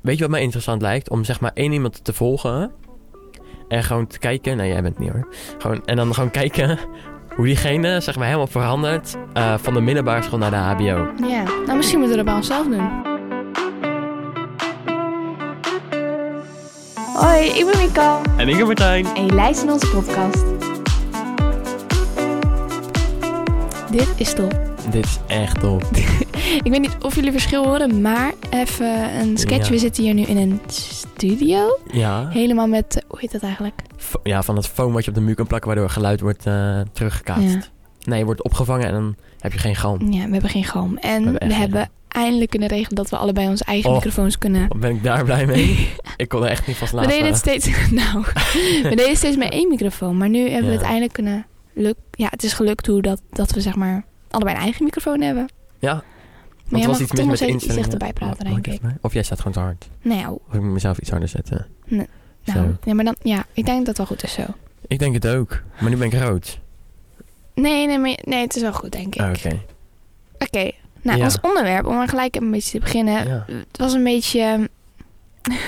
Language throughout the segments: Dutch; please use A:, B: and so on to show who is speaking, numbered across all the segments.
A: Weet je wat mij interessant lijkt? Om zeg maar één iemand te volgen. En gewoon te kijken. Nee, jij bent het niet hoor. Gewoon, en dan gewoon kijken hoe diegene zeg maar helemaal verandert. eh, van de middelbare school naar de HBO.
B: Ja, nou misschien moeten we dat bij onszelf doen.
C: Hoi, ik ben Mika
A: En ik ben Martijn.
C: en je luistert naar onze podcast.
B: Dit is top.
A: Dit is echt top.
B: Ik weet niet of jullie verschil horen, maar even een sketch.
A: Ja.
B: We zitten hier nu in een studio.
A: Ja.
B: Helemaal met, eh, hoe heet dat eigenlijk?
A: Fo- Ja, van dat foam wat je op de muur kan plakken. Waardoor geluid wordt eh, teruggekaatst.
B: Ja.
A: Nee, je wordt opgevangen en dan heb je geen galm.
B: Ja, we hebben geen galm. En
A: We
B: we
A: hebben
B: hebben,
A: echt geen
B: eindelijk kunnen regelen dat we allebei onze eigen
A: Oh.
B: microfoons kunnen.
A: Wat ben ik daar blij mee? ik kon er echt niet van
B: We
A: slapen.
B: deden het steeds, nou, we deden het steeds met één microfoon. Maar nu hebben we
A: Ja.
B: het eindelijk kunnen luk, Ja, het is gelukt hoe dat, dat we zeg maar allebei een eigen microfoon hebben.
A: Ja.
B: Maar
A: Want
B: jij
A: er was
B: mag
A: iets
B: toch
A: mis
B: nog
A: met de
B: steeds iets
A: instellingen.
B: dichterbij praten,
A: Mag ik
B: denk ik.
A: even mij? Of jij staat gewoon te hard.
B: Nou,
A: Of ik moet mezelf iets harder zetten. Zo.
B: nou nee, maar dan, ja, ik denk dat het wel goed is zo.
A: Ik denk het ook. Maar nu ben ik rood.
B: Nee, nee, maar, nee, het is wel goed, denk ik.
A: Ah,
B: Oké,
A: Oké.
B: nou,
A: Ja.
B: ons onderwerp, om maar gelijk een beetje te beginnen.
A: Ja.
B: Het was een beetje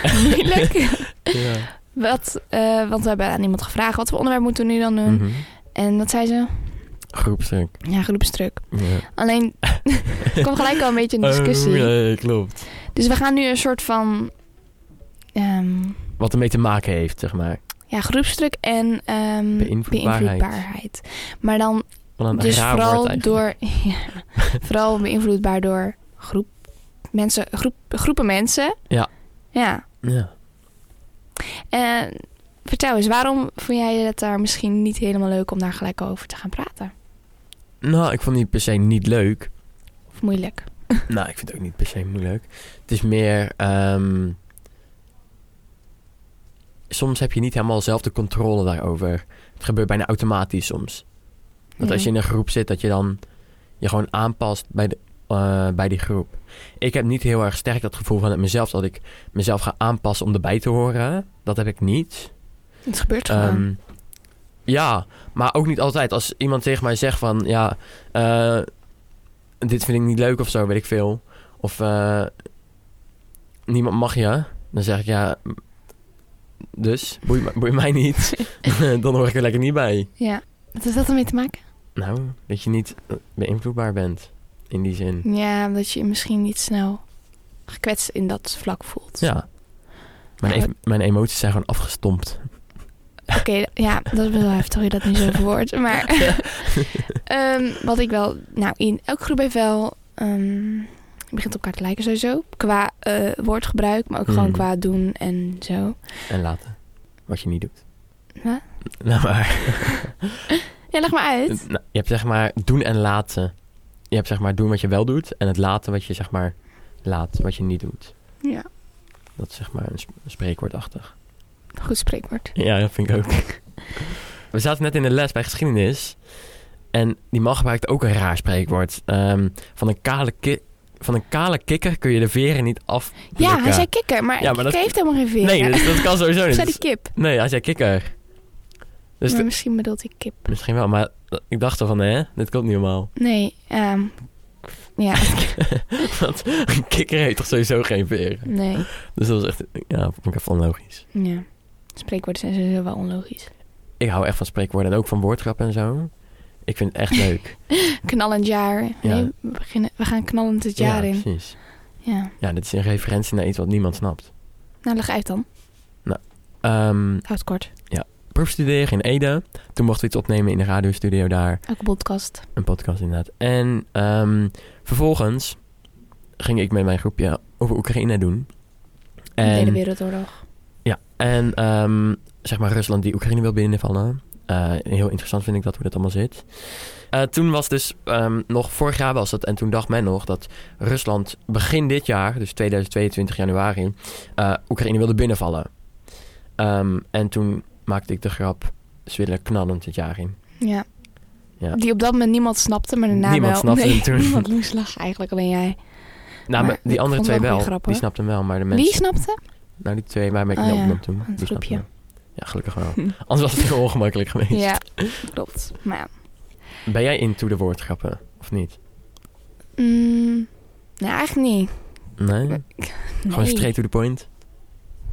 B: eh, moeilijk.
A: Ja.
B: wat, eh, want we hebben aan iemand gevraagd, wat voor onderwerp moeten we nu dan doen?
A: Mhm.
B: En wat zei ze?
A: Groepstuk.
B: Ja, groepsdruk.
A: Ja.
B: Alleen, er kwam gelijk al een beetje een discussie.
A: Oh, nee, klopt.
B: Dus we gaan nu een soort van ehm,
A: Wat ermee te maken heeft, zeg maar.
B: ja, groepsdruk en ehm,
A: Beïnvloedbaarheid.
B: beïnvloedbaarheid. Maar dan
A: Wat een
B: dus
A: raar woord
B: vooral
A: eigenlijk.
B: door, ja, vooral beïnvloedbaar door groep, mensen, groep, groepen mensen.
A: Ja.
B: Ja.
A: Ja.
B: En vertel eens, waarom vond jij het daar misschien niet helemaal leuk om daar gelijk over te gaan praten?
A: Nou, ik vond die per se niet leuk.
B: Of moeilijk?
A: nou, ik vind het ook niet per se moeilijk. Het is meer... ehm, soms heb je niet helemaal zelf de controle daarover. Het gebeurt bijna automatisch soms. Dat als je in een groep zit, dat je dan je gewoon aanpast bij, de, eh, bij die groep. Ik heb niet heel erg sterk dat gevoel vanuit mezelf dat ik mezelf ga aanpassen om erbij te horen. Dat heb ik niet.
B: Het gebeurt gewoon.
A: Ehm, ja, maar ook niet altijd. Als iemand tegen mij zegt van, ja, eh, dit vind ik niet leuk of zo, weet ik veel. Of eh, niemand mag je. Dan zeg ik, ja, m- dus, boeit me- boeit mij niet. dan hoor ik er lekker niet bij.
B: ja. Wat heeft dat ermee te maken?
A: Nou, dat je niet eh, beïnvloedbaar bent in die zin.
B: Ja, dat je je misschien niet snel gekwetst in dat vlak voelt.
A: Ja. Mijn,
B: Ja,
A: e- mijn emoties zijn gewoon afgestompt.
B: Oké, ja, dat is best wel heftig hoe je dat nu zo verwoordt. Maar ehm, wat ik wel... Nou, in elke groep heeft wel... ehm, het begint op elkaar te lijken sowieso. Qua eh, woordgebruik, maar ook gewoon
A: Mhm.
B: qua doen en zo.
A: En laten. Wat je niet doet.
B: Huh?
A: Nou, maar.
B: Ja, leg maar uit.
A: Nou, je hebt zeg maar doen en laten. Je hebt zeg maar doen wat je wel doet. En het laten wat je zeg maar laat. Wat je niet doet.
B: Ja,
A: Dat is zeg maar een sp- spreekwoordachtig.
B: goed spreekwoord.
A: Ja, dat vind ik ook. We zaten net in de les bij geschiedenis. En die man gebruikt ook een raar spreekwoord. Ehm, van, een kale ki- van een kale kikker kun je de veren niet af.
B: Ja, hij zei kikker, maar,
A: dus Ja, maar
B: kikker
A: dat-
B: heeft helemaal geen veren.
A: Nee, dus dat kan sowieso
B: Of zei die
A: niet.
B: kip.
A: Nee, hij zei kikker. Dus
B: maar
A: de-
B: misschien bedoelt hij kip.
A: misschien wel, maar eh, ik dacht er van, hè, dit komt niet normaal.
B: Nee, ehm, ja,
A: Want een kikker heeft toch sowieso geen veren.
B: nee.
A: Dus dat was echt, ja, vond ik even onlogisch.
B: Ja, spreekwoorden zijn sowieso wel onlogisch.
A: Ik hou echt van spreekwoorden en ook van woordgrappen en zo. Ik vind het echt leuk.
B: Knallend jaar. Nee, we, beginnen, we gaan knallend het jaar
A: ja,
B: in.
A: precies.
B: Ja.
A: Ja, dit is een referentie naar iets wat niemand snapt.
B: Nou, leg uit dan.
A: Ehm
B: Houd het kort.
A: proefstuderen in Ede. Toen mochten we iets opnemen in de radiostudio daar.
B: Elke podcast.
A: Een podcast inderdaad. En ehm, vervolgens ging ik met mijn groepje over Oekraïne doen.
B: De Tweede
A: En
B: Wereldoorlog.
A: Ja, en ehm, zeg maar Rusland die Oekraïne wil binnenvallen. Eh, heel interessant vind ik dat, hoe dat allemaal zit. Eh, toen was dus, ehm, nog vorig jaar was dat, en toen dacht men nog dat Rusland begin dit jaar, dus 2022 januari, eh, Oekraïne wilde binnenvallen. Ehm, en toen maakte ik de grap, ze willen knallend dit jaar in.
B: Ja.
A: Ja.
B: Die op dat moment niemand snapte, maar daarna
A: Niemand
B: wel.
A: snapte
B: nee,
A: hem toen.
B: Niemand moest lachen eigenlijk, alleen jij.
A: Nou, maar
B: Maar
A: die
B: ik
A: andere
B: vond
A: twee
B: het wel een
A: wel,
B: goede grap,
A: die
B: hoor.
A: snapten hem wel, maar de mensen...
B: Wie snapte?
A: Nou, die twee waarmee ik
B: Oh
A: net
B: ja,
A: opnam toen, die
B: het
A: snapten
B: groepje.
A: hem. Ja, gelukkig wel. Anders was het heel ongemakkelijk geweest.
B: ja, klopt. Maar ja.
A: Ben jij into de woordgrappen, of niet?
B: Mm, nou, eigenlijk niet.
A: Nee? Gewoon
B: Nee.
A: straight to the point.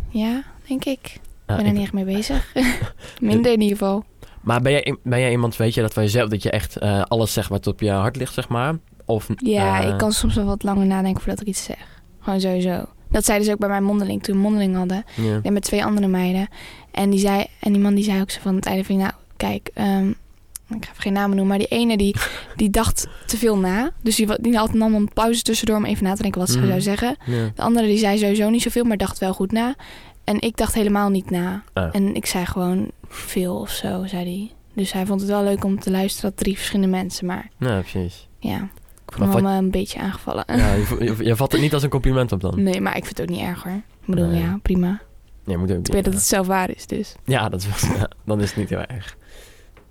B: Ja, denk ik.
A: Ja,
B: Ik ben er
A: ik-
B: niet echt mee bezig. Minder in ieder geval.
A: Maar ben jij, ben jij iemand, weet je, dat van jezelf, dat je echt eh, alles zegt wat op je hart ligt, zeg maar? Of,
B: Ja,
A: eh,
B: ik kan soms wel wat langer nadenken voordat ik iets zeg. Gewoon sowieso. Dat zei dus ook bij mijn mondeling, toen we mondeling hadden.
A: ja.
B: En met twee andere meiden. En die, zei, en die man die zei ook zo van het einde van... Nou, kijk, ehm, ik ga even geen namen noemen. Maar die ene die, die dacht te veel na. Dus die, wa- die had nam een pauze tussendoor om even na te denken wat ze
A: Mhm.
B: zou zeggen.
A: Ja.
B: De andere die zei sowieso niet zoveel, maar dacht wel goed na. En ik dacht helemaal niet na.
A: Ah.
B: En ik zei gewoon veel of zo, zei hij. Dus hij vond het wel leuk om te luisteren dat drie verschillende mensen. Maar
A: Ja, precies.
B: ja, ik
A: Maar
B: voel me wel een beetje aangevallen.
A: Ja, je, je, je vat het niet als een compliment op dan.
B: Nee, maar ik vind het ook niet erg hoor. Ik bedoel,
A: Nee.
B: ja, prima.
A: Nee, moet ook
B: Ik weet
A: niet,
B: dat het zelf waar is, dus.
A: Ja, dat is, ja, dan is het niet heel erg.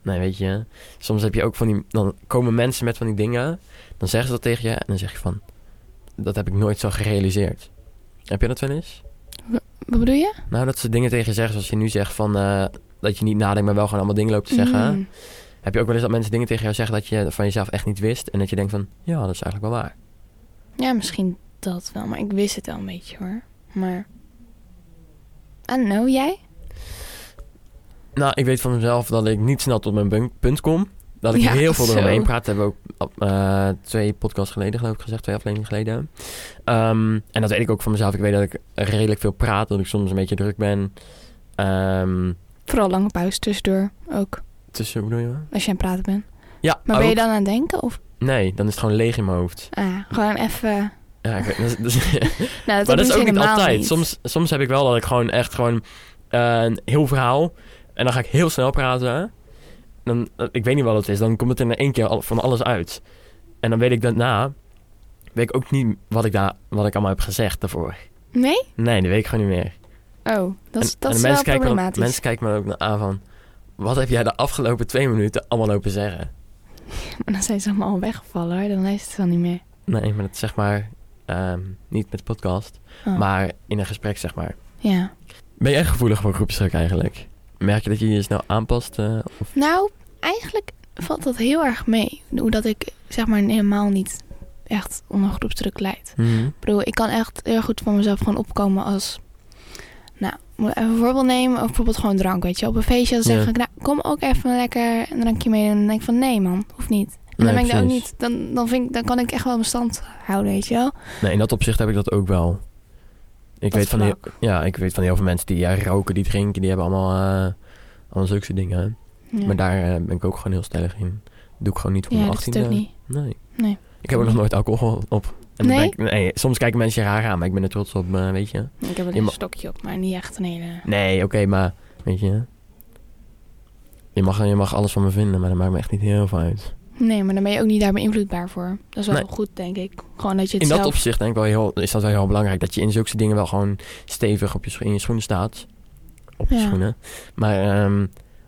A: Nee, weet je, soms heb je ook van die... Dan komen mensen met van die dingen, dan zeggen ze dat tegen je en dan zeg je van... Dat heb ik nooit zo gerealiseerd. Heb je dat wel eens?
B: Wat bedoel je?
A: Nou, dat ze dingen tegen je zeggen zoals je nu zegt van... eh, dat je niet nadenkt, maar wel gewoon allemaal dingen loopt te zeggen.
B: Mm.
A: Heb je ook wel eens dat mensen dingen tegen jou zeggen dat je van jezelf echt niet wist... en dat je denkt van, ja, dat is eigenlijk wel waar.
B: Ja, misschien dat wel, maar ik wist het al een beetje hoor. Maar. I don't know, jij?
A: Nou, ik weet van mezelf dat ik niet snel tot mijn bun- punt kom. Dat ik
B: Ja,
A: heel veel
B: zo.
A: eromheen praat. Dat hebben we ook eh, twee podcasts geleden, geloof ik, gezegd. Twee afleveringen geleden. Ehm, en dat weet ik ook van mezelf. Ik weet dat ik redelijk veel praat. Dat ik soms een beetje druk ben. Ehm,
B: Vooral lange pauze tussendoor ook,
A: tussen, hoe bedoel je?
B: als je aan het praten bent.
A: Ja,
B: Maar ben je
A: ook.
B: dan aan het denken? Of
A: Nee, dan is het gewoon leeg in mijn hoofd.
B: ah, gewoon even.
A: Ja, ik weet- dat is- dat is-
B: Nou, dat
A: maar dat
B: heb
A: is
B: ik
A: ook niet
B: helemaal
A: altijd. Soms, soms heb ik wel dat ik gewoon echt gewoon eh, een heel verhaal... en dan ga ik heel snel praten. Dan, eh, ik weet niet wat het is. Dan komt het in één keer al- van alles uit. En dan weet ik daarna... weet ik ook niet wat ik, daar, wat ik allemaal heb gezegd daarvoor.
B: Nee?
A: Nee, dat weet ik gewoon niet meer.
B: Oh, dat is,
A: En-
B: dat
A: en
B: is
A: de
B: wel
A: kijken me dan-
B: problematisch.
A: mensen kijken me ook na- aan van... wat heb jij de afgelopen twee minuten allemaal lopen zeggen?
B: Maar dan zijn ze allemaal al weggevallen hoor, dan is het wel niet meer.
A: Nee, maar dat zeg maar... ehm, niet met podcast,
B: Oh,
A: maar in een gesprek zeg maar.
B: Ja.
A: Ben jij gevoelig voor groepsdruk eigenlijk? Merk je dat je je snel aanpast? eh, of...
B: Nou, eigenlijk valt dat heel erg mee. Hoe dat ik zeg maar helemaal niet echt onder groepsdruk leid.
A: Mhm.
B: Ik bedoel, ik kan echt heel goed van mezelf gewoon opkomen als... Nou, moet ik even een voorbeeld nemen. Of bijvoorbeeld gewoon drank, weet je. Op een feestje dan zeg
A: Ja.
B: ik, nou, kom ook even lekker een drankje mee. En dan denk ik van, nee man, hoeft niet. En
A: Nee,
B: dan ben ik daar ook
A: precies.
B: niet... Dan, dan, vind ik, dan kan ik echt wel mijn stand houden, weet je wel.
A: Nee, in dat opzicht heb ik dat ook wel. Ik,
B: Dat
A: weet van heel,
B: vlak.
A: ja, ik weet van heel veel mensen die ja, roken, die drinken, die hebben allemaal, eh allemaal zulke soort dingen.
B: Ja.
A: Maar daar eh, ben ik ook gewoon heel stellig in. Doe ik gewoon niet voor
B: ja,
A: mijn
B: dat is
A: 18e.
B: het ook niet.
A: Nee.
B: Nee.
A: Ik heb ook nog nooit alcohol op. En dan
B: Nee?
A: ben ik, nee, soms kijken mensen je raar aan, maar ik ben er trots op, eh, weet je.
B: Ik heb wel
A: Je
B: een
A: ma-
B: stokje op, maar niet echt een hele...
A: Nee, oké, maar weet je. Je mag, je mag alles van me vinden, maar dat maakt me echt niet heel veel uit.
B: Nee, maar dan ben je ook niet daar beïnvloedbaar voor. Dat is wel
A: Nee.
B: goed, denk ik. Gewoon dat je het
A: In dat
B: zelf...
A: opzicht denk ik wel heel, is dat wel heel belangrijk. Dat je in zulke soort dingen wel gewoon stevig op je, scho- in je schoenen staat. Op je
B: Ja.
A: schoenen. Maar ehm,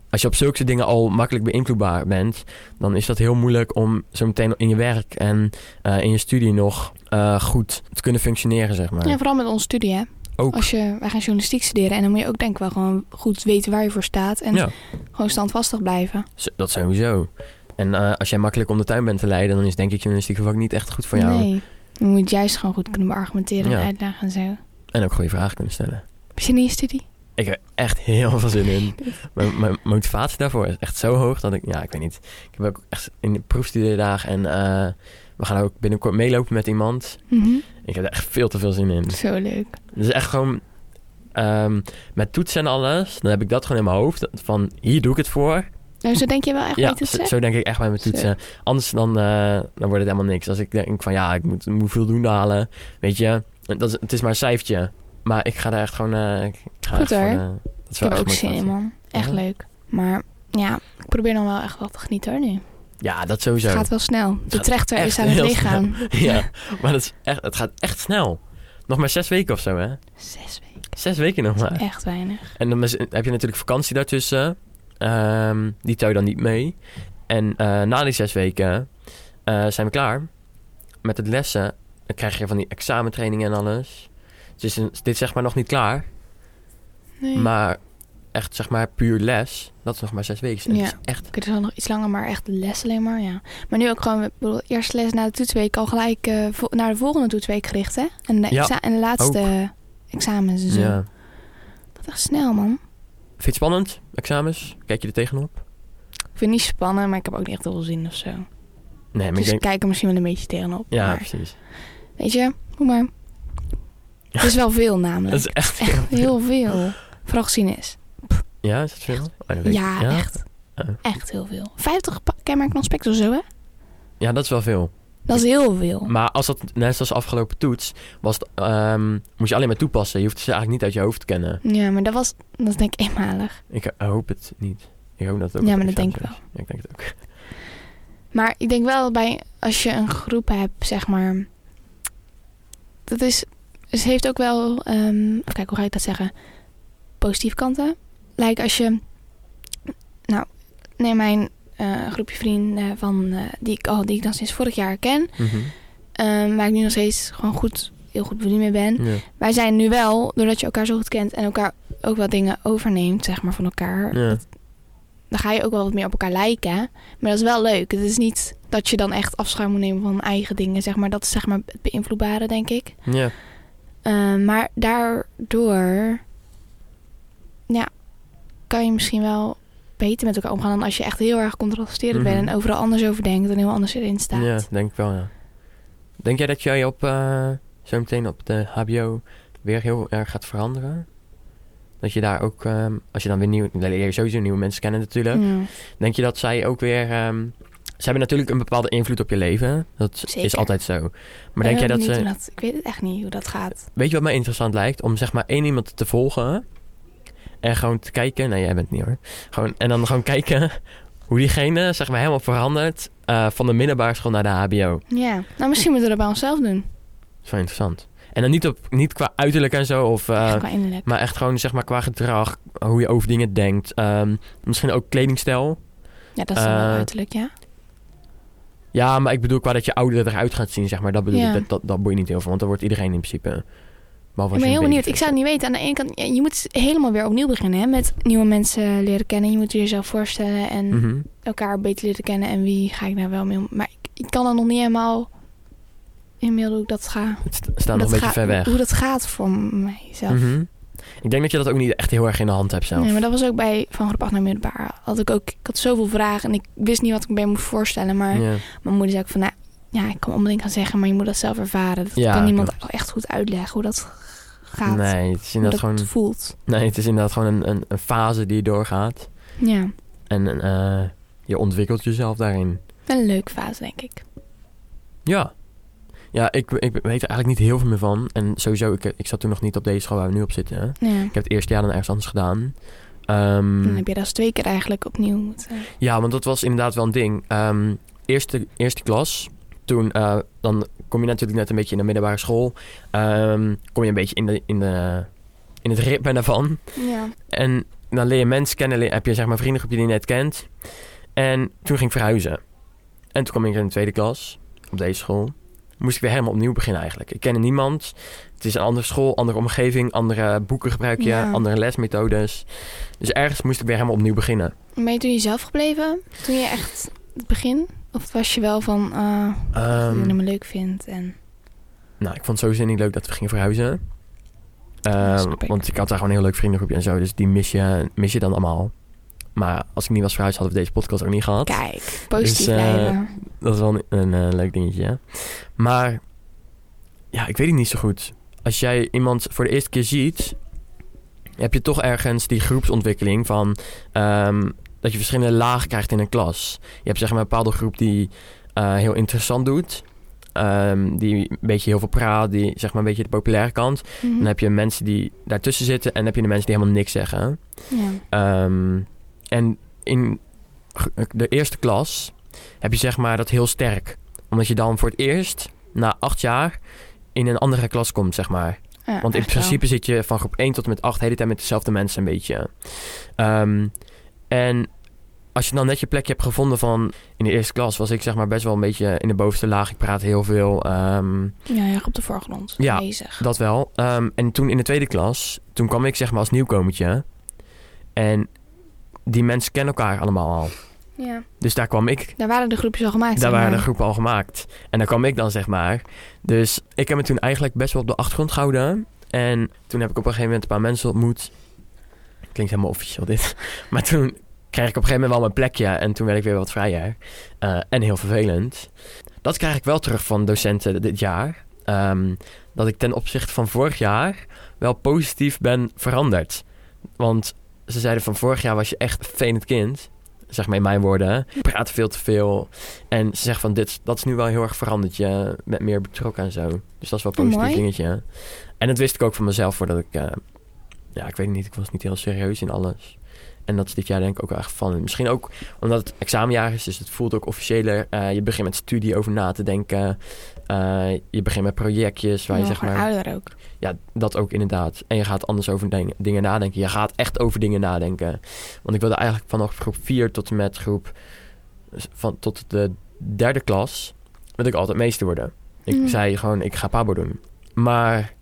A: als je op zulke soort dingen al makkelijk beïnvloedbaar bent... dan is dat heel moeilijk om zo meteen in je werk en eh, in je studie nog eh, goed te kunnen functioneren, zeg maar.
B: Ja, vooral met onze studie, hè.
A: Ook.
B: Als je, wij gaan journalistiek studeren en dan moet je ook denk ik wel gewoon goed weten waar je voor staat. En
A: Ja.
B: gewoon standvastig blijven.
A: Zo- Dat sowieso. En eh, als jij makkelijk om de tuin bent te leiden... dan is denk ik journalistiek vak niet echt goed voor jou.
B: Nee, je moet juist gewoon goed kunnen beargumenteren
A: Ja.
B: en uitdagen en zo.
A: En ook goede vragen kunnen stellen.
B: Heb je zin in je studie?
A: Ik heb er echt heel veel zin in. Mijn, mijn motivatie daarvoor is echt zo hoog dat ik, ja, ik weet niet. Ik heb ook echt in de proefstudiedag en eh, we gaan ook binnenkort meelopen met iemand.
B: Mhm.
A: Ik heb er echt veel te veel zin in.
B: Zo leuk.
A: Dus echt gewoon ehm, met toetsen en alles, dan heb ik dat gewoon in mijn hoofd. dat Van hier doe ik het voor.
B: Nou, zo denk je wel echt
A: ja,
B: niet dat
A: zo-
B: ze...
A: zo denk ik echt bij mijn
B: Zo.
A: toetsen. Anders dan, eh, dan wordt het helemaal niks. Als ik denk van ja, ik moet, moet voldoende halen, weet je. Dat is, het is maar een cijfertje. Maar ik ga daar echt gewoon... eh, ik ga
B: Goed
A: echt gewoon,
B: hoor.
A: eh, dat is
B: Ik
A: wel
B: heb
A: echt
B: er ook zin
A: motivatie.
B: in, man. Echt
A: Ja.
B: leuk. Maar ja, ik probeer dan wel echt wel te genieten hoor nu.
A: Ja, dat
B: Het
A: sowieso.
B: gaat wel snel. De
A: gaat
B: trechter
A: echt
B: is aan het
A: heel
B: leeggaan.
A: Ja, maar dat is echt, het gaat echt snel. Nog maar zes weken of zo, hè?
B: Zes weken.
A: Zes weken nog maar.
B: Echt weinig.
A: En dan is- heb je natuurlijk vakantie daartussen. Ehm, die tel je dan niet mee. En eh, na die zes weken eh, zijn we klaar met het lessen. Dan krijg je van die examentrainingen en alles. Dus dit is zeg maar nog niet klaar.
B: Nee.
A: Maar echt zeg maar puur les, dat is nog maar zes weken. En
B: Ja.
A: het is echt
B: Oké, dus dan nog iets langer, maar echt les alleen maar, ja. Maar nu ook gewoon, ik bedoel, eerste les na de toetsweek al gelijk eh, vo- naar de volgende toetsweek gericht, hè? En de,
A: Ja,
B: exa- en de laatste examens en zo.
A: ja.
B: Dat is echt snel, man.
A: Vind je het spannend, examens? Kijk je er tegenop?
B: Ik vind het niet spannend, maar ik heb ook niet echt heel veel zin of zo.
A: Nee, maar
B: dus
A: ik
B: ik
A: denk...
B: kijk er misschien wel een beetje tegenop.
A: Ja,
B: maar-
A: precies.
B: Weet je, doe maar. Het is wel veel namelijk.
A: Dat is echt...
B: Echt heel veel. Vooral geschiedenis.
A: Ja, is dat veel? Oh, dat weet ik-
B: Ja, echt.
A: Oh.
B: Echt heel veel. 50 pa- kenmerken aspect of zo, hè?
A: Ja, dat is wel veel.
B: Dat is heel veel.
A: Maar als dat, net zoals de afgelopen toets, was het, ehm, moest je alleen maar toepassen. Je hoeft ze eigenlijk niet uit je hoofd te kennen.
B: Ja, maar dat was, dat is denk ik eenmalig.
A: Ik hoop het niet. Ik hoop dat het ook
B: Ja,
A: op
B: maar dat
A: examen
B: denk ik
A: is. Ja, ik denk het ook.
B: Maar ik denk wel bij, als je een groep hebt, zeg maar. Dat is, ze heeft ook wel, ehm even kijken, hoe ga ik dat zeggen? Positieve kanten. Lijkt als je, nou, neem mijn eh, groepje vrienden van, eh, die, ik al, die ik dan sinds vorig jaar ken.
A: Mhm.
B: Ehm, waar ik nu nog steeds gewoon goed, heel goed bevriend mee ben.
A: Ja.
B: Wij zijn nu wel, doordat je elkaar zo goed kent en elkaar ook wel dingen overneemt, zeg maar, van elkaar.
A: Ja.
B: Dan ga je ook wel wat meer op elkaar lijken. Maar dat is wel leuk. Het is niet dat je dan echt afscheid moet nemen van eigen dingen, zeg maar. Dat is zeg maar het beïnvloedbare, denk ik.
A: Ja.
B: Ehm, maar daardoor, ja, kan je misschien wel beter met elkaar omgaan dan als je echt heel erg contrasterend bent
A: Mhm.
B: en overal anders over denkt en heel anders erin staat.
A: ja, denk ik wel, ja. Denk jij dat jij op, eh, zo meteen op de HBO weer heel erg gaat veranderen? Dat je daar ook, ehm, als je dan weer nieuw, dan leer je sowieso nieuwe mensen kennen natuurlijk.
B: Ja.
A: Denk je dat zij ook weer... ehm, ze hebben natuurlijk een bepaalde invloed op je leven. Dat is
B: Zeker.
A: altijd zo. Maar denk jij dat
B: ben heel
A: ze...
B: benieuwd hoe Ik weet het echt niet hoe dat gaat.
A: Weet je wat mij interessant lijkt? Om zeg maar één iemand te volgen. En gewoon te kijken. Nee, jij bent niet hoor. Gewoon, en dan gewoon kijken hoe diegene zeg maar helemaal verandert. eh, van de middelbare school naar de HBO.
B: Ja, nou misschien moeten we dat bij onszelf doen.
A: Dat is wel interessant. En dan niet, op, niet qua uiterlijk en zo. Of, eh,
B: Echt qua innerlijk.
A: maar echt gewoon zeg maar qua gedrag. Hoe je over dingen denkt. Ehm, misschien ook kledingstijl.
B: Ja, dat is dan wel
A: eh,
B: uiterlijk, ja.
A: Ja, maar ik bedoel qua dat je ouder eruit gaat zien. Zeg maar. Dat bedoel
B: Ja.
A: ik. Dat, dat, dat boeit niet heel veel. Want dan wordt iedereen in principe... Behalve
B: Ik
A: als je
B: ben
A: een
B: heel
A: baby
B: benieuwd. Ik zou het niet weten. Aan de ene kant, je moet helemaal weer opnieuw beginnen hè, met nieuwe mensen leren kennen. Je moet jezelf voorstellen en
A: bent. Mhm.
B: elkaar beter leren kennen. En wie ga ik nou wel mee om? Maar ik, ik kan er nog niet helemaal in hoe ik dat ga.
A: Het st- staat nog
B: hoe dat
A: een beetje
B: ga-
A: ver weg.
B: Hoe dat gaat voor mijzelf.
A: Mhm. Ik denk dat je dat ook niet echt heel erg in de hand hebt zelf.
B: Nee, maar dat was ook bij van groep 8 naar middelbaar. Had ik ook, ik had zoveel vragen en ik wist niet wat ik me moest voorstellen. Maar
A: Ja.
B: Mijn moeder zei ook van, nou, ja, ik kan onderling gaan zeggen, maar je moet dat zelf ervaren. Dat
A: Ja,
B: kan niemand echt goed uitleggen hoe dat g- gaat,
A: Nee, het is
B: hoe dat,
A: inderdaad gewoon,
B: het voelt.
A: nee, het is inderdaad gewoon een, een, een fase die je doorgaat.
B: Ja,
A: En eh, je ontwikkelt jezelf daarin.
B: wel een leuke fase, denk ik.
A: Ja. Ja, ik, ik weet er eigenlijk niet heel veel meer van. En sowieso, ik, ik zat toen nog niet op deze school waar we nu op zitten. hè.
B: Ja.
A: Ik heb het eerste jaar dan ergens anders gedaan. Ehm,
B: Dan heb je dat eens twee keer eigenlijk opnieuw moeten.
A: Ja, want dat was inderdaad wel een ding. Ehm, eerste, eerste klas, toen eh, dan kom je natuurlijk net een beetje in de middelbare school. Ehm, kom je een beetje in, de, in, de, in het ritme daarvan.
B: Ja.
A: En dan leer je mensen kennen, leer- heb je zeg maar vriendengroep die je net kent. En toen ging ik verhuizen. En toen kwam ik in de tweede klas, op deze school. Moest ik weer helemaal opnieuw beginnen eigenlijk. Ik kende niemand. Het is een andere school, andere omgeving, andere boeken gebruik je,
B: Ja.
A: andere lesmethodes. Dus ergens moest ik weer helemaal opnieuw beginnen.
B: Ben je toen jezelf gebleven? Toen je echt het begin? Of was je wel van, eh dat
A: Ehm,
B: je me leuk vindt? En...
A: Nou, ik vond het sowieso niet leuk dat we gingen verhuizen.
B: Ja,
A: Ehm,
B: snap ik.
A: want ik had daar gewoon een heel leuk vriendengroepje en zo. Dus die mis je, mis je dan allemaal. Maar als ik niet was verhuisd, hadden we deze podcast ook niet gehad.
B: Kijk, positief
A: Dus, eh,
B: blijven.
A: Dat is wel een, een, eh, leuk dingetje. hè. Maar ja, ik weet het niet zo goed. Als jij iemand voor de eerste keer ziet, heb je toch ergens die groepsontwikkeling van ehm, dat je verschillende lagen krijgt in een klas. Je hebt zeg maar een bepaalde groep die eh, heel interessant doet. ehm, die een beetje heel veel praat, die zeg maar een beetje de populaire kant.
B: Mhm.
A: Dan heb je mensen die daartussen zitten en dan heb je de mensen die helemaal niks zeggen.
B: Ja.
A: Ehm, en in g- de eerste klas heb je zeg maar dat heel sterk. Omdat je dan voor het eerst na acht jaar in een andere klas komt, zeg maar.
B: Ja,
A: Want in
B: Ah, echt wel.
A: principe zit je van groep 1 tot en met 8 de hele tijd met dezelfde mensen een beetje. Ehm, en als je dan net je plekje hebt gevonden van... In de eerste klas was ik zeg maar best wel een beetje in de bovenste laag. Ik praat heel veel. ehm,
B: Ja, heel erg op de voorgrond.
A: Ja.
B: Bezig.
A: dat wel. Ehm, en toen in de tweede klas, toen kwam ik zeg maar als nieuwkomertje. En die mensen kennen elkaar allemaal al.
B: Ja.
A: Dus daar kwam ik
B: Daar waren de groepjes al gemaakt.
A: daar
B: zeg
A: waren de
B: maar.
A: groepen al gemaakt. En daar kwam ik dan, zeg maar. Dus ik heb me toen eigenlijk best wel op de achtergrond gehouden. En toen heb ik op een gegeven moment een paar mensen ontmoet. Klinkt helemaal officieel dit. Maar toen kreeg ik op een gegeven moment wel mijn plekje. En toen werd ik weer wat vrijer. Eh, en heel vervelend. Dat krijg ik wel terug van docenten dit jaar. Ehm, dat ik ten opzichte van vorig jaar wel positief ben veranderd. Want ze zeiden van vorig jaar was je echt een vervelend kind. Zeg maar in mijn woorden. Je praat veel te veel. En ze zegt van, dit, dat is nu wel heel erg veranderd. Je bent meer betrokken en zo. Dus dat is wel een positief
B: Mooi.
A: dingetje. En dat wist ik ook van mezelf voordat ik... eh, ja, ik weet niet. Ik was niet heel serieus in alles. En dat is dit jaar denk ik ook wel echt van. Misschien ook omdat het examenjaar is, dus het voelt ook officiëler. Eh, je begint met studie over na te denken. Eh, je begint met projectjes waar je
B: Ja,
A: zeg
B: gewoon
A: maar...
B: ouder ook.
A: Ja, dat ook inderdaad. En je gaat anders over ding- dingen nadenken. Je gaat echt over dingen nadenken. Want ik wilde eigenlijk vanaf groep 4 tot en met groep... Van, tot de derde klas... wilde ik altijd meester worden. Ik
B: Mm.
A: zei gewoon, ik ga pabo doen. Maar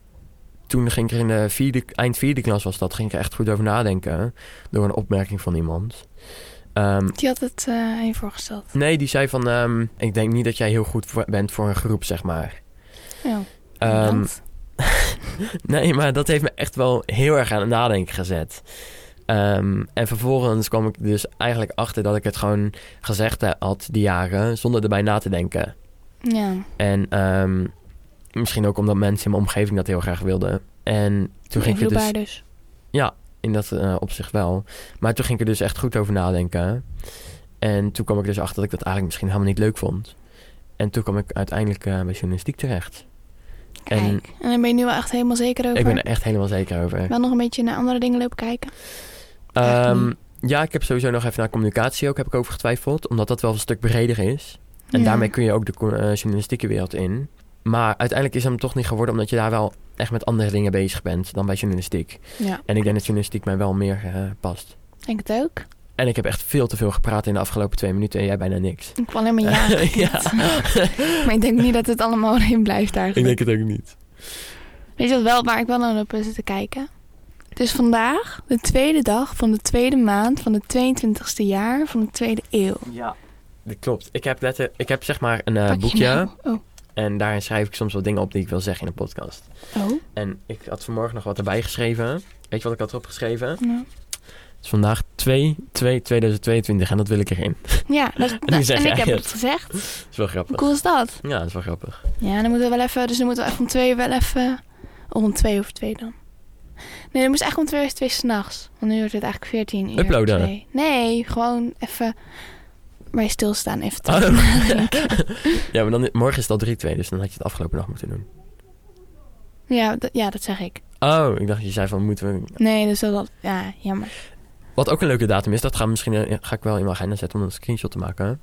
A: toen ging ik er in de vierde, eind vierde klas was dat... ging ik er echt goed over nadenken. Door een opmerking van iemand. Ehm,
B: Die had het eh aan je voorgesteld.
A: nee, die zei van... ehm, ik denk niet dat jij heel goed voor- bent voor een groep, zeg maar.
B: Ja.
A: Ehm,
B: want-
A: Nee, maar dat heeft me echt wel heel erg aan het nadenken gezet. Ehm, en vervolgens kwam ik dus eigenlijk achter dat ik het gewoon gezegd had die jaren zonder erbij na te denken.
B: ja.
A: En ehm, misschien ook omdat mensen in mijn omgeving dat heel graag wilden. En toen ging ik er dus
B: Invloedbaar dus.
A: in dat eh, opzicht wel. Maar toen ging ik er dus echt goed over nadenken. En toen kwam ik dus achter dat ik dat eigenlijk misschien helemaal niet leuk vond. En toen kwam ik uiteindelijk eh, bij journalistiek terecht. En
B: Kijk. En daar ben je nu wel echt helemaal zeker over.
A: ik ben er echt helemaal zeker over.
B: Wel nog een beetje naar andere dingen lopen kijken. Echt
A: Ehm,
B: niet.
A: ja, ik heb sowieso nog even naar communicatie ook heb ik over getwijfeld. Omdat dat wel een stuk breder is. En
B: Ja.
A: daarmee kun je ook de co- eh, journalistieke wereld in. Maar uiteindelijk is het hem toch niet geworden... omdat je daar wel echt met andere dingen bezig bent dan bij journalistiek.
B: Ja,
A: En ik denk dat journalistiek mij wel meer eh, past.
B: ik denk het ook.
A: En ik heb echt veel te veel gepraat in de afgelopen twee minuten... en jij bijna niks.
B: Ik heb alleen maar ja. geknikt. maar ik denk niet dat het allemaal in blijft eigenlijk.
A: het ook niet.
B: Weet je wat wel, waar ik wel naar op heb zitten kijken? Het is vandaag de tweede dag van de tweede maand van het 22e jaar van de tweede eeuw.
A: Ja. Dat klopt. Ik heb, letter, ik heb zeg maar een eh,
B: Pak je
A: boekje...
B: nou- Oh.
A: en daarin schrijf ik soms wel dingen op die ik wil zeggen in de podcast.
B: oh.
A: En ik had vanmorgen nog wat erbij geschreven. Weet je wat ik had erop geschreven?
B: Ja.
A: Het is vandaag 2, 2, 2022 en dat wil ik erin.
B: Ja, dat,
A: Nu zeg
B: en
A: jij
B: ik heb
A: het.
B: het gezegd.
A: Dat is wel
B: Hoe
A: grappig.
B: cool is dat?
A: Ja, dat is wel grappig.
B: Ja, dan moeten we wel even... Dus dan moeten we echt om twee uur wel even... Oh, om twee over twee dan. Nee, dan moest echt om twee over twee s'nachts. Want nu wordt het eigenlijk 14 uur.
A: Uploaden.
B: Twee. Nee, gewoon even... Bij stilstaan even te
A: Oh. ja, maar dan, morgen is het al 3-2, dus dan had je het afgelopen dag moeten doen.
B: ja, dat- ja, dat zeg ik.
A: Oh, ik dacht je zei van moeten we...
B: Nee, dus dat... Ja, jammer.
A: Wat ook een leuke datum is, dat ga, misschien, eh, ga ik wel in mijn agenda zetten om een screenshot te maken.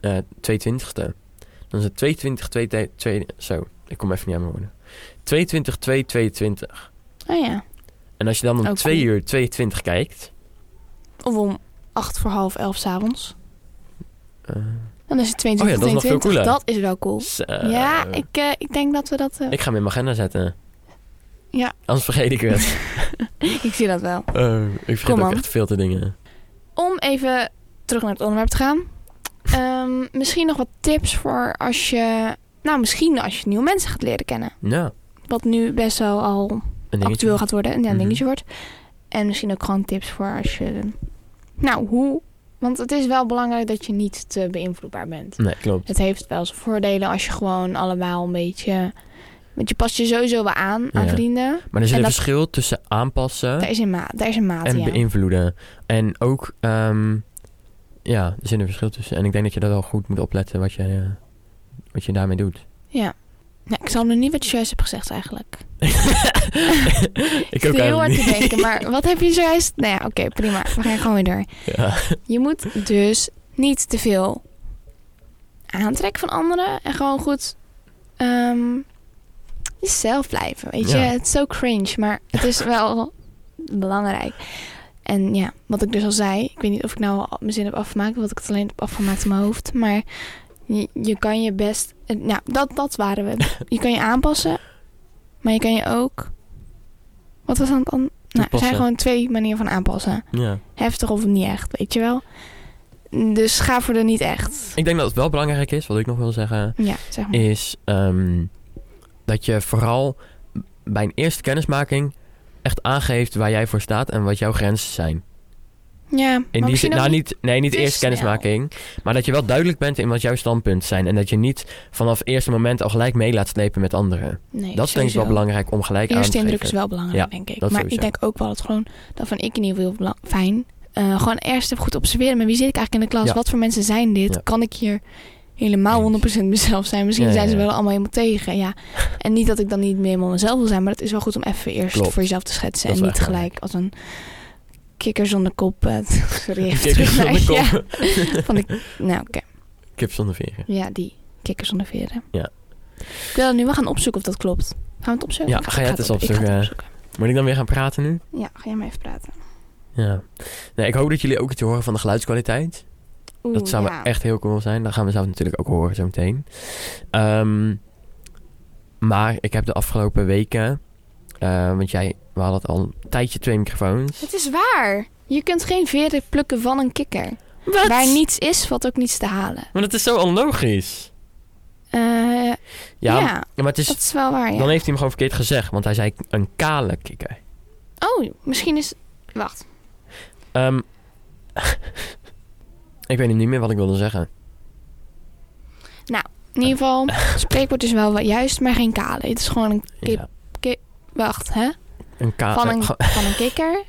A: Eh 22e. Dan is het 22, 2, 2, Zo, ik kom even niet aan mijn woorden. 22, 2, 22.
B: Oh ja.
A: En als je dan om
B: Oh,
A: 2
B: cool.
A: uur 22 kijkt...
B: Of om acht voor half elf s'avonds.
A: eh,
B: Dan is het
A: Oh ja,
B: 22,
A: dat is nog veel
B: 22.
A: cooler.
B: dat is wel cool.
A: zo.
B: Ja, ik, eh, ik denk dat we dat... eh,
A: Ik ga hem in mijn agenda zetten.
B: Ja.
A: Anders vergeet ik het.
B: ik zie dat wel.
A: Eh, ik vergeet
B: Kom
A: ook
B: aan.
A: echt veel te dingen.
B: Om even terug naar het onderwerp te gaan. Ehm, misschien nog wat tips voor als je... Nou, misschien als je nieuwe mensen gaat leren kennen.
A: Ja,
B: Wat nu best wel al
A: een dingetje.
B: actueel gaat worden. En ja, een
A: Mhm.
B: dingetje wordt. En misschien ook gewoon tips voor als je... Nou, hoe... Want het is wel belangrijk dat je niet te beïnvloedbaar bent.
A: Nee, klopt.
B: Het heeft wel zijn voordelen als je gewoon allemaal een beetje... Want je past je sowieso wel aan, aan
A: Ja.
B: vrienden.
A: Maar er zit
B: En
A: een
B: dat-
A: verschil tussen aanpassen
B: Daar is een, ma daar is een maat
A: en
B: ja.
A: beïnvloeden. En ook, ehm, ja, er zit een verschil tussen. En ik denk dat je dat wel goed moet opletten wat je, eh, wat je daarmee doet.
B: Ja. Nou, ik zal nu niet wat je juist hebt gezegd eigenlijk.
A: ik
B: Ik
A: ook
B: zit heel hard
A: eigenlijk
B: te
A: niet.
B: denken, maar wat heb je zojuist? Nou ja, oké, prima. We gaan gewoon weer door.
A: Ja.
B: Je moet dus niet te veel aantrekken van anderen en gewoon goed ehm, jezelf blijven. Weet je,
A: Ja.
B: het is zo cringe, maar het is wel belangrijk. En ja, wat ik dus al zei, ik weet niet of ik nou al mijn zin heb afgemaakt, want ik het alleen heb afgemaakt in mijn hoofd, maar je, je kan je best, eh, nou, dat, dat waren we. Je kan je aanpassen, maar je kan je ook, wat was aan het an- Nou, er
A: Toepassen.
B: zijn gewoon twee manieren van aanpassen.
A: Ja.
B: Heftig of niet echt, weet je wel. Dus ga voor de niet echt.
A: Ik denk dat het wel belangrijk is, wat ik nog wil zeggen,
B: Ja, zeg maar.
A: is ehm, dat je vooral bij een eerste kennismaking echt aangeeft waar jij voor staat en wat jouw grenzen zijn.
B: Ja,
A: In
B: maar
A: die
B: misschien
A: zin,
B: ook
A: nou
B: niet- dus,
A: niet, nee, niet
B: te
A: eerst
B: snel.
A: kennismaking, maar dat je wel duidelijk bent in wat jouw standpunten zijn en dat je niet vanaf het eerste moment al gelijk mee laat slepen met anderen.
B: Nee,
A: dat is denk ik wel
B: sowieso.
A: belangrijk om gelijk aan te
B: Eerste indruk is
A: geven.
B: wel belangrijk,
A: Ja,
B: denk ik.
A: dat
B: Maar ik
A: sowieso.
B: denk ook wel dat gewoon dat van ik in ieder geval heel belang- fijn. Eh, gewoon eerst even goed observeren. Met wie zit ik eigenlijk in de klas?
A: Ja.
B: Wat voor mensen zijn dit?
A: Ja.
B: Kan ik hier helemaal
A: Eens.
B: 100% mezelf zijn? Misschien
A: Ja, ja,
B: zijn ze
A: ja.
B: wel allemaal helemaal tegen. Ja. En niet dat ik dan niet meer helemaal mezelf wil zijn, maar het is wel goed om even eerst
A: Klopt.
B: voor jezelf te schetsen.
A: Dat
B: en
A: is
B: niet
A: wel echt
B: gelijk als een kikker zonder kop. eh, sorry, even
A: Kikker
B: terug naar-
A: zonder kop.
B: Ja, van de, nou, oké.
A: Kip zonder veren.
B: Ja, die kikker zonder veren.
A: Ja.
B: Ik wil dat nu wel gaan opzoeken of dat klopt. Gaan we het opzoeken?
A: Ja,
B: Ik
A: ga jij het
B: het
A: eens
B: op- ik ga het
A: opzoeken. Moet ik dan weer gaan praten nu?
B: Ja, ga jij maar even praten.
A: Ja. Nee, ik hoop dat jullie ook iets horen van de geluidskwaliteit.
B: Oeh,
A: dat zou
B: ja.
A: wel echt heel cool zijn. Dat gaan we zelf natuurlijk ook horen zo meteen. Ehm, maar ik heb de afgelopen weken... eh, want jij, we hadden het al een tijdje twee microfoons.
B: Het is waar. Je kunt geen veren plukken van een kikker.
A: Wat?
B: Waar niets is, valt ook niets te halen.
A: Maar dat is zo onlogisch.
B: Eh,
A: Ja,
B: ja,
A: maar het is,
B: dat is wel waar, ja.
A: dan heeft hij hem gewoon verkeerd gezegd. Want hij zei een kale kikker.
B: Oh, misschien is... Wacht.
A: Ehm, ik weet nu niet meer wat ik wilde zeggen.
B: In ieder geval, het spreekwoord is wel wa- juist, maar geen kale. Het is gewoon een... Kip.
A: Ja,
B: Wacht, hè?
A: een kale...
B: Van een, van een kikker.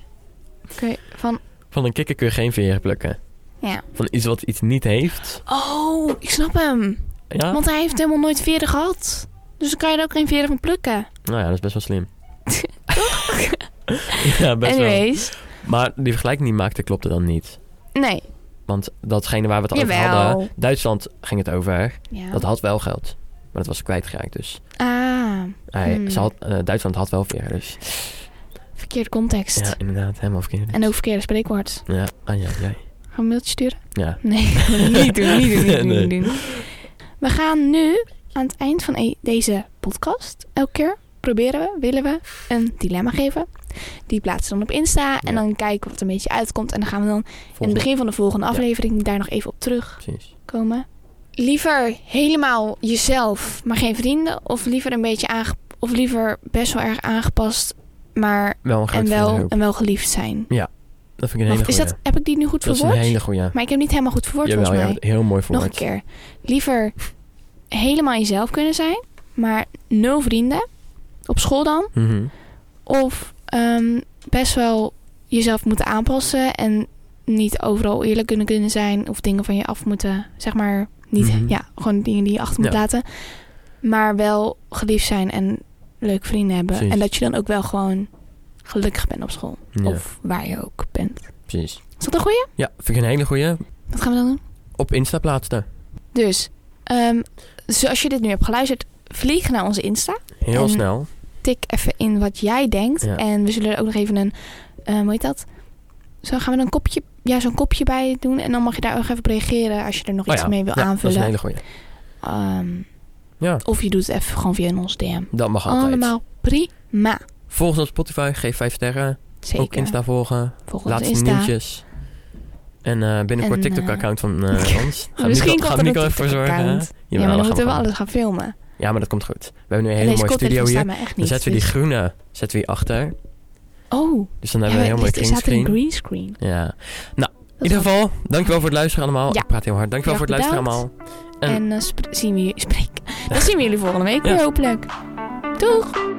B: Oké, van...
A: Van een kikker kun je geen veren plukken.
B: Ja.
A: Van iets wat iets niet heeft.
B: Oh, ik snap hem.
A: Ja?
B: Want hij heeft helemaal nooit veren gehad. Dus dan kan je er ook geen veren van plukken.
A: Nou ja, dat is best wel slim. ja, best wel.
B: Anyways.
A: Maar die vergelijking die maakte klopte dan niet.
B: Nee.
A: Want datgene waar we het over
B: Jawel.
A: hadden... Duitsland ging het over.
B: Ja.
A: Dat had wel geld. Maar dat was ze kwijtgeraakt dus.
B: Ah,
A: Hij,
B: Hmm.
A: ze had, eh, Duitsland had wel veren dus.
B: verkeerde context.
A: Ja, inderdaad. Helemaal verkeerd.
B: En ook verkeerde spreekwoord.
A: Ja, ah, ja, ja.
B: Gaan we een mailtje sturen?
A: ja.
B: Nee, niet doen, niet doen, niet doen,
A: Nee.
B: niet doen. We gaan nu aan het eind van e- deze podcast elke keer proberen we, willen we, een dilemma geven. Die plaatsen we dan op Insta en
A: Ja.
B: dan kijken we wat er een beetje uitkomt. En dan gaan we dan in het
A: Volgende.
B: begin van de volgende
A: Ja.
B: aflevering daar nog even op
A: Precies.
B: terugkomen. Liever helemaal jezelf, maar geen vrienden. Of liever een beetje aange- of liever best wel erg aangepast, maar
A: Wel een
B: en
A: grote
B: wel,
A: vriendengroep.
B: en wel geliefd zijn.
A: Dat vind ik een hele
B: Wacht, is
A: goeie.
B: dat, heb ik die nu goed
A: dat is een
B: verwoord?
A: hele goeie.
B: Maar ik heb niet helemaal goed verwoord
A: Jawel,
B: volgens
A: ja,
B: mij.
A: heel mooi
B: Nog
A: verwoord.
B: een keer. Liever helemaal jezelf kunnen zijn, maar nul vrienden. Op school dan.
A: Mhm.
B: Of ehm, best wel jezelf moeten aanpassen en niet overal eerlijk kunnen kunnen zijn of dingen van je af moeten, zeg maar, niet,
A: Mhm.
B: ja, gewoon dingen die je achter moet
A: Ja.
B: laten. Maar wel geliefd zijn en leuke vrienden hebben.
A: Precies.
B: En dat je dan ook wel gewoon gelukkig bent op school.
A: Ja,
B: Of waar je ook bent.
A: precies.
B: Is dat een goeie?
A: Ja, vind ik een hele goeie.
B: Wat gaan we dan doen?
A: Op Insta plaatste.
B: Dus, ehm, zoals je dit nu hebt geluisterd, vlieg naar onze Insta.
A: Heel
B: En-
A: snel.
B: Tik even in wat jij denkt.
A: Ja.
B: En we zullen er ook nog even een, eh hoe heet dat? Zo gaan we een kopje, ja, zo'n kopje bij doen. En dan mag je daar ook even op reageren als je er nog
A: Oh
B: iets
A: ja,
B: mee wil
A: ja, Dat is
B: aanvullen.
A: een hele goeie.
B: Ehm,
A: Ja,
B: of je doet het even gewoon via ons DM.
A: dat mag altijd.
B: Allemaal prima.
A: Volg ons op Spotify, geef 5 sterren.
B: Zeker.
A: Ook Insta volgen.
B: Volg ons
A: Laatste
B: Insta.
A: nieuwtjes. En eh, binnenkort
B: En, eh,
A: TikTok-account van eh, ons. Gaat
B: Misschien
A: Nico,
B: komt
A: gaat
B: er
A: Nico
B: een
A: even voor zorgen. hè?
B: TikTok-account.
A: Jawel, dat
B: Ja, maar dan
A: gaan
B: moeten we
A: gewoon.
B: alles gaan filmen.
A: Ja, maar dat komt goed. We hebben nu een
B: En
A: hele
B: deze
A: mooie studio
B: koptelefoon
A: hier.
B: staat me echt
A: Dan
B: niet.
A: zetten we die
B: dus-
A: groene zetten we hier achter.
B: Oh,
A: Dus dan
B: ja,
A: hebben we
B: maar
A: een heel mooi
B: er staat een
A: greenscreen.
B: green screen.
A: Ja. In ieder geval, dankjewel voor het luisteren allemaal.
B: Ja.
A: Ik praat heel hard. Dankjewel
B: Ja,
A: voor het luisteren
B: bedankt.
A: allemaal.
B: En, eh,
A: En-
B: dan spre- zien we jullie, spreek. Dan zien we jullie volgende week
A: Ja.
B: weer hopelijk. Doeg!